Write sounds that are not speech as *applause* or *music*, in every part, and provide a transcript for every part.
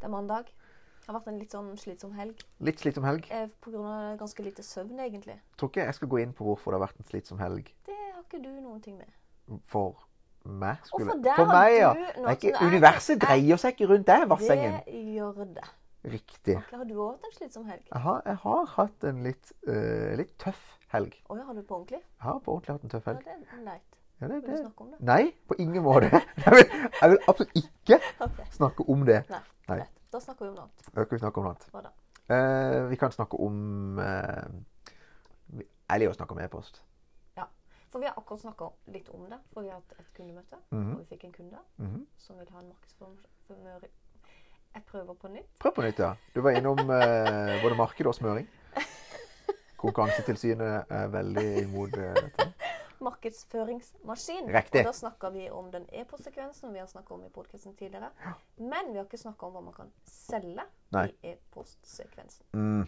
Det er mandag. Det har vært en litt sånn slitsom helg. Litt slitsom helg. Eh, på grunn av ganske lite søvn, egentlig. Tror ikke jeg skal gå inn på hvorfor det har vært en slitsom helg Det har ikke du noen ting med. for meg. Og Skulle. for der har meg, ja. du Det noe er ikke, som er- universet dreier seg ikke rundt deg, Vassengen. Det gjør det. Riktig. Akkurat har du òg hatt en slitsom helg. Jeg har, jeg har hatt en litt, eh, litt tøff helg. Å ja, har du på ordentlig? Jeg har på ordentlig hatt en tøff Ja, helg. det er leit. Ja, det, Vil du det. snakke om det? *laughs* Nei, på ingen måte. *laughs* Jeg vil, jeg vil absolutt ikke Ok. snakke om det. Nei. Nei. Greit. Da snakker vi om noe annet. Da skal vi snakke om noe annet. Hva da? Eh, vi kan snakke om eh, vi- Jeg liker å snakke om e-post. For vi har akkurat snakka litt om det. For vi har hatt et kundemøte, Mhm. og vi fikk en kunde Mhm. som vil ha en markedsformør... Jeg prøver på nytt. Prøv på nytt, ja. Du var innom eh, både marked og smøring. Konkurransetilsynet er veldig imot eh, dette. Markedsføringsmaskin. Og Riktig. da snakker vi om den e-postsekvensen vi har snakka om i podkasten tidligere. Men vi har ikke snakka om hva man kan selge Nei. i e-postsekvensen. Mm,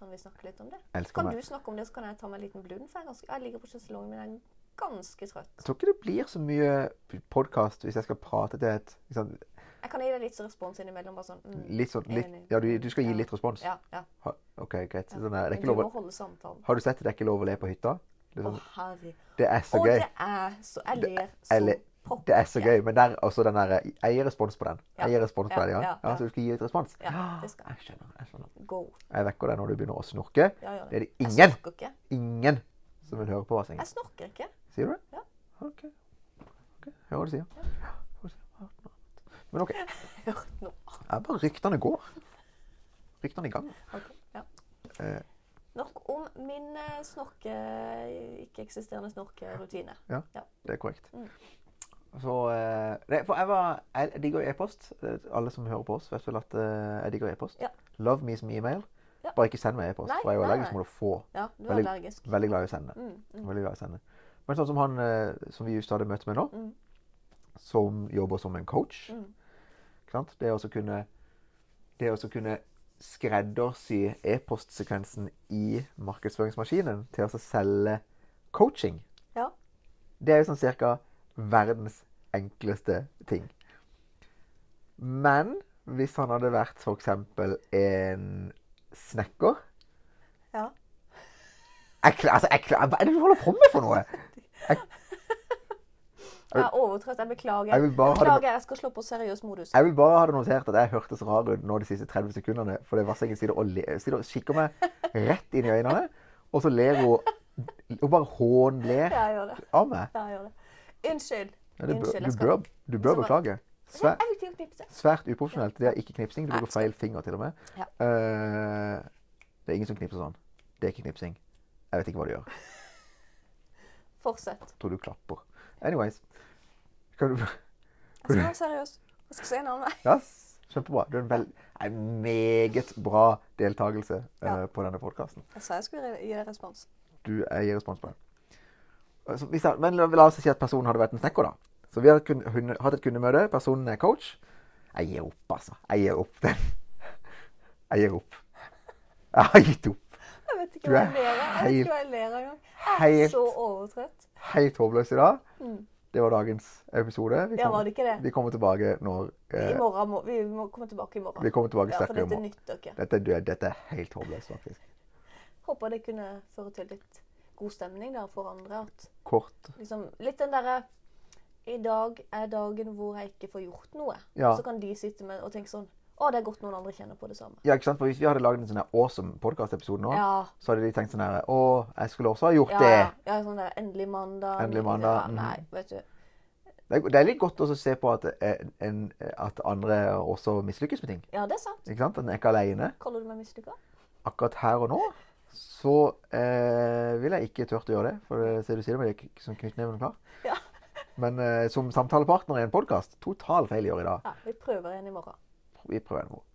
Kan vi snakke litt om det? elsker Kan meg. du snakke om det, så kan jeg ta meg en liten blund? For jeg, er ganske, jeg ligger på sjeselongen min, jeg er ganske trøtt. Jeg tror ikke det blir så mye podkast hvis jeg skal prate til et ikke sant, Jeg kan gi deg litt så respons innimellom. Bare sånn mm, litt sånn litt, Enig. Ja, du, du skal gi litt respons? Ja, ja. Ha, OK, greit. Ja. Sånn, er det Men ikke du lov må å, holde samtalen. har du sett det er ikke lov å le på hytta? Det er, Å, sånn, herregud. det er så Og gøy. det er så Jeg Det- ler jeg som ler- pokker. Det er så gøy. Men der også den derre Jeg gir respons på den. Jeg Ja. gir respons på Ja, den, ja. ja, ja. ja. Så du skal gi litt respons? Ah, Ja, det skal jeg. Jeg skjønner. Jeg skjønner. Go. Jeg vekker deg når du begynner å snorke. Ja, gjør Det er det Jeg ingen, snorker ikke. ingen som vil høre på Vassengen. Jeg snorker ikke. *laughs* Sier du det? Ja. OK. Ok, Hører hva du sier. Ja, hører hva du sier. Men OK. Hørt noe. Det er bare ryktene går. Ryktene i gang. Ok, ja. Eh. Nok om min eh, snorke... ikke-eksisterende snorkerutine. Det er korrekt. Mm. Så eh, Nei, for jeg var Jeg digger jo e-post. Eh, Alle som hører på oss, vet vel at eh, jeg digger e-post. Ja. Love me som e-mail. Ja. Bare ikke send meg e-post, Nei, for jeg er jo nei, allergisk nei. mot å få. Ja, du er Veldig- allergisk. Veldig glad i å sende. Mm, mm. Veldig glad i å sende. Men sånn som han eh, som vi just hadde møtt med nå, Mm. som jobber som en coach Mm. ikke sant? Det å så kunne, det å så kunne skreddersy e-postsekvensen i markedsføringsmaskinen til å så selge coaching, Ja. det er jo sånn cirka verdens enkleste ting. Men hvis han hadde vært for eksempel en snekker Ja. jeg, kla- altså, jeg, kla- Hva er det du holder på med for noe? Jeg er overtrøtt. Jeg beklager. Jeg vil bare ha det- beklager, jeg skal slå på seriøs modus. Jeg vil bare ha det notert at jeg hørtes rar ut nå de siste 30 sekundene. Fordi Vassengen sitter og, le, sitter og kikker meg rett inn i øynene, og så ler hun Hun bare hånler Ja, jeg gjør det. av meg. Ja, jeg gjør det. Unnskyld. Ja, det bør, Unnskyld, jeg du, skal- bør, du Så bør bare- beklage. Nei, Svært, Jeg fikk til å knipse. svært uprofesjonelt. Det er ikke knipsing. Du Nei, bruker feil finger, til og med. Ja. Eh, det er ingen som knipser sånn. Det er ikke knipsing. Jeg vet ikke hva du gjør. Fortsett. Jeg tror du klapper. Anyways. Kan du Jeg skal være seriøs. Jeg skal se navnet. Ja, s- kjempebra. Du er en, vel, en meget bra deltakelse eh, Ja. på denne podkasten. Jeg sa jeg skulle gi deg respons. Du jeg gir respons på den. Altså, hvis jeg, men la, la oss si at personen hadde vært en snekker, da. Så vi har kun, hun, hatt et kundemøte. Personen er coach. Jeg gir opp, altså. Jeg gir opp den. *laughs* Jeg gir opp. Jeg har gitt opp. Jeg vet ikke Du hva er jeg ler av. Jeg vet helt- ikke hva jeg ler av engang. Jeg er helt- så overtrøtt. Helt håpløs i dag. Mm. Det var dagens episode. Vi Ja, var det ikke det? vi kommer tilbake når I eh, morgen må, Vi må komme tilbake i morgen. Vi kommer tilbake Ja, for sterkere i dette morgen. nytter ikke. Dette, er død. dette er helt håpløst, faktisk. Håper det kunne føre til litt god stemning der for andre. At Kort. liksom Litt den derre I dag er dagen hvor jeg ikke får gjort noe. Ja. Så kan de sitte med og tenke sånn Å, det er godt noen andre kjenner på det samme. Ja, ikke sant? For hvis vi hadde lagd en sånn her awesome podkast-episode nå, Ja. så hadde de tenkt sånn her Å, jeg skulle også ha gjort Ja, ja, ja sånn der endelig mandag. Endelig mandag, Ja, mhm. nei, vet du. det. det! er- Det er litt godt også å se på at, eh, en, at andre også mislykkes med ting. Ja, det er sant. Ikke sant? En er ikke aleine. Kaller du meg mislykka? Akkurat her og nå så eh, vil jeg ikke tørt å gjøre det. For det, ser du sier det med det som knyttneven klar. Ja. Men eh, som samtalepartner i en podkast, total feil å gjøre i dag. ja. Vi prøver igjen i morgen. Vi prøver noe.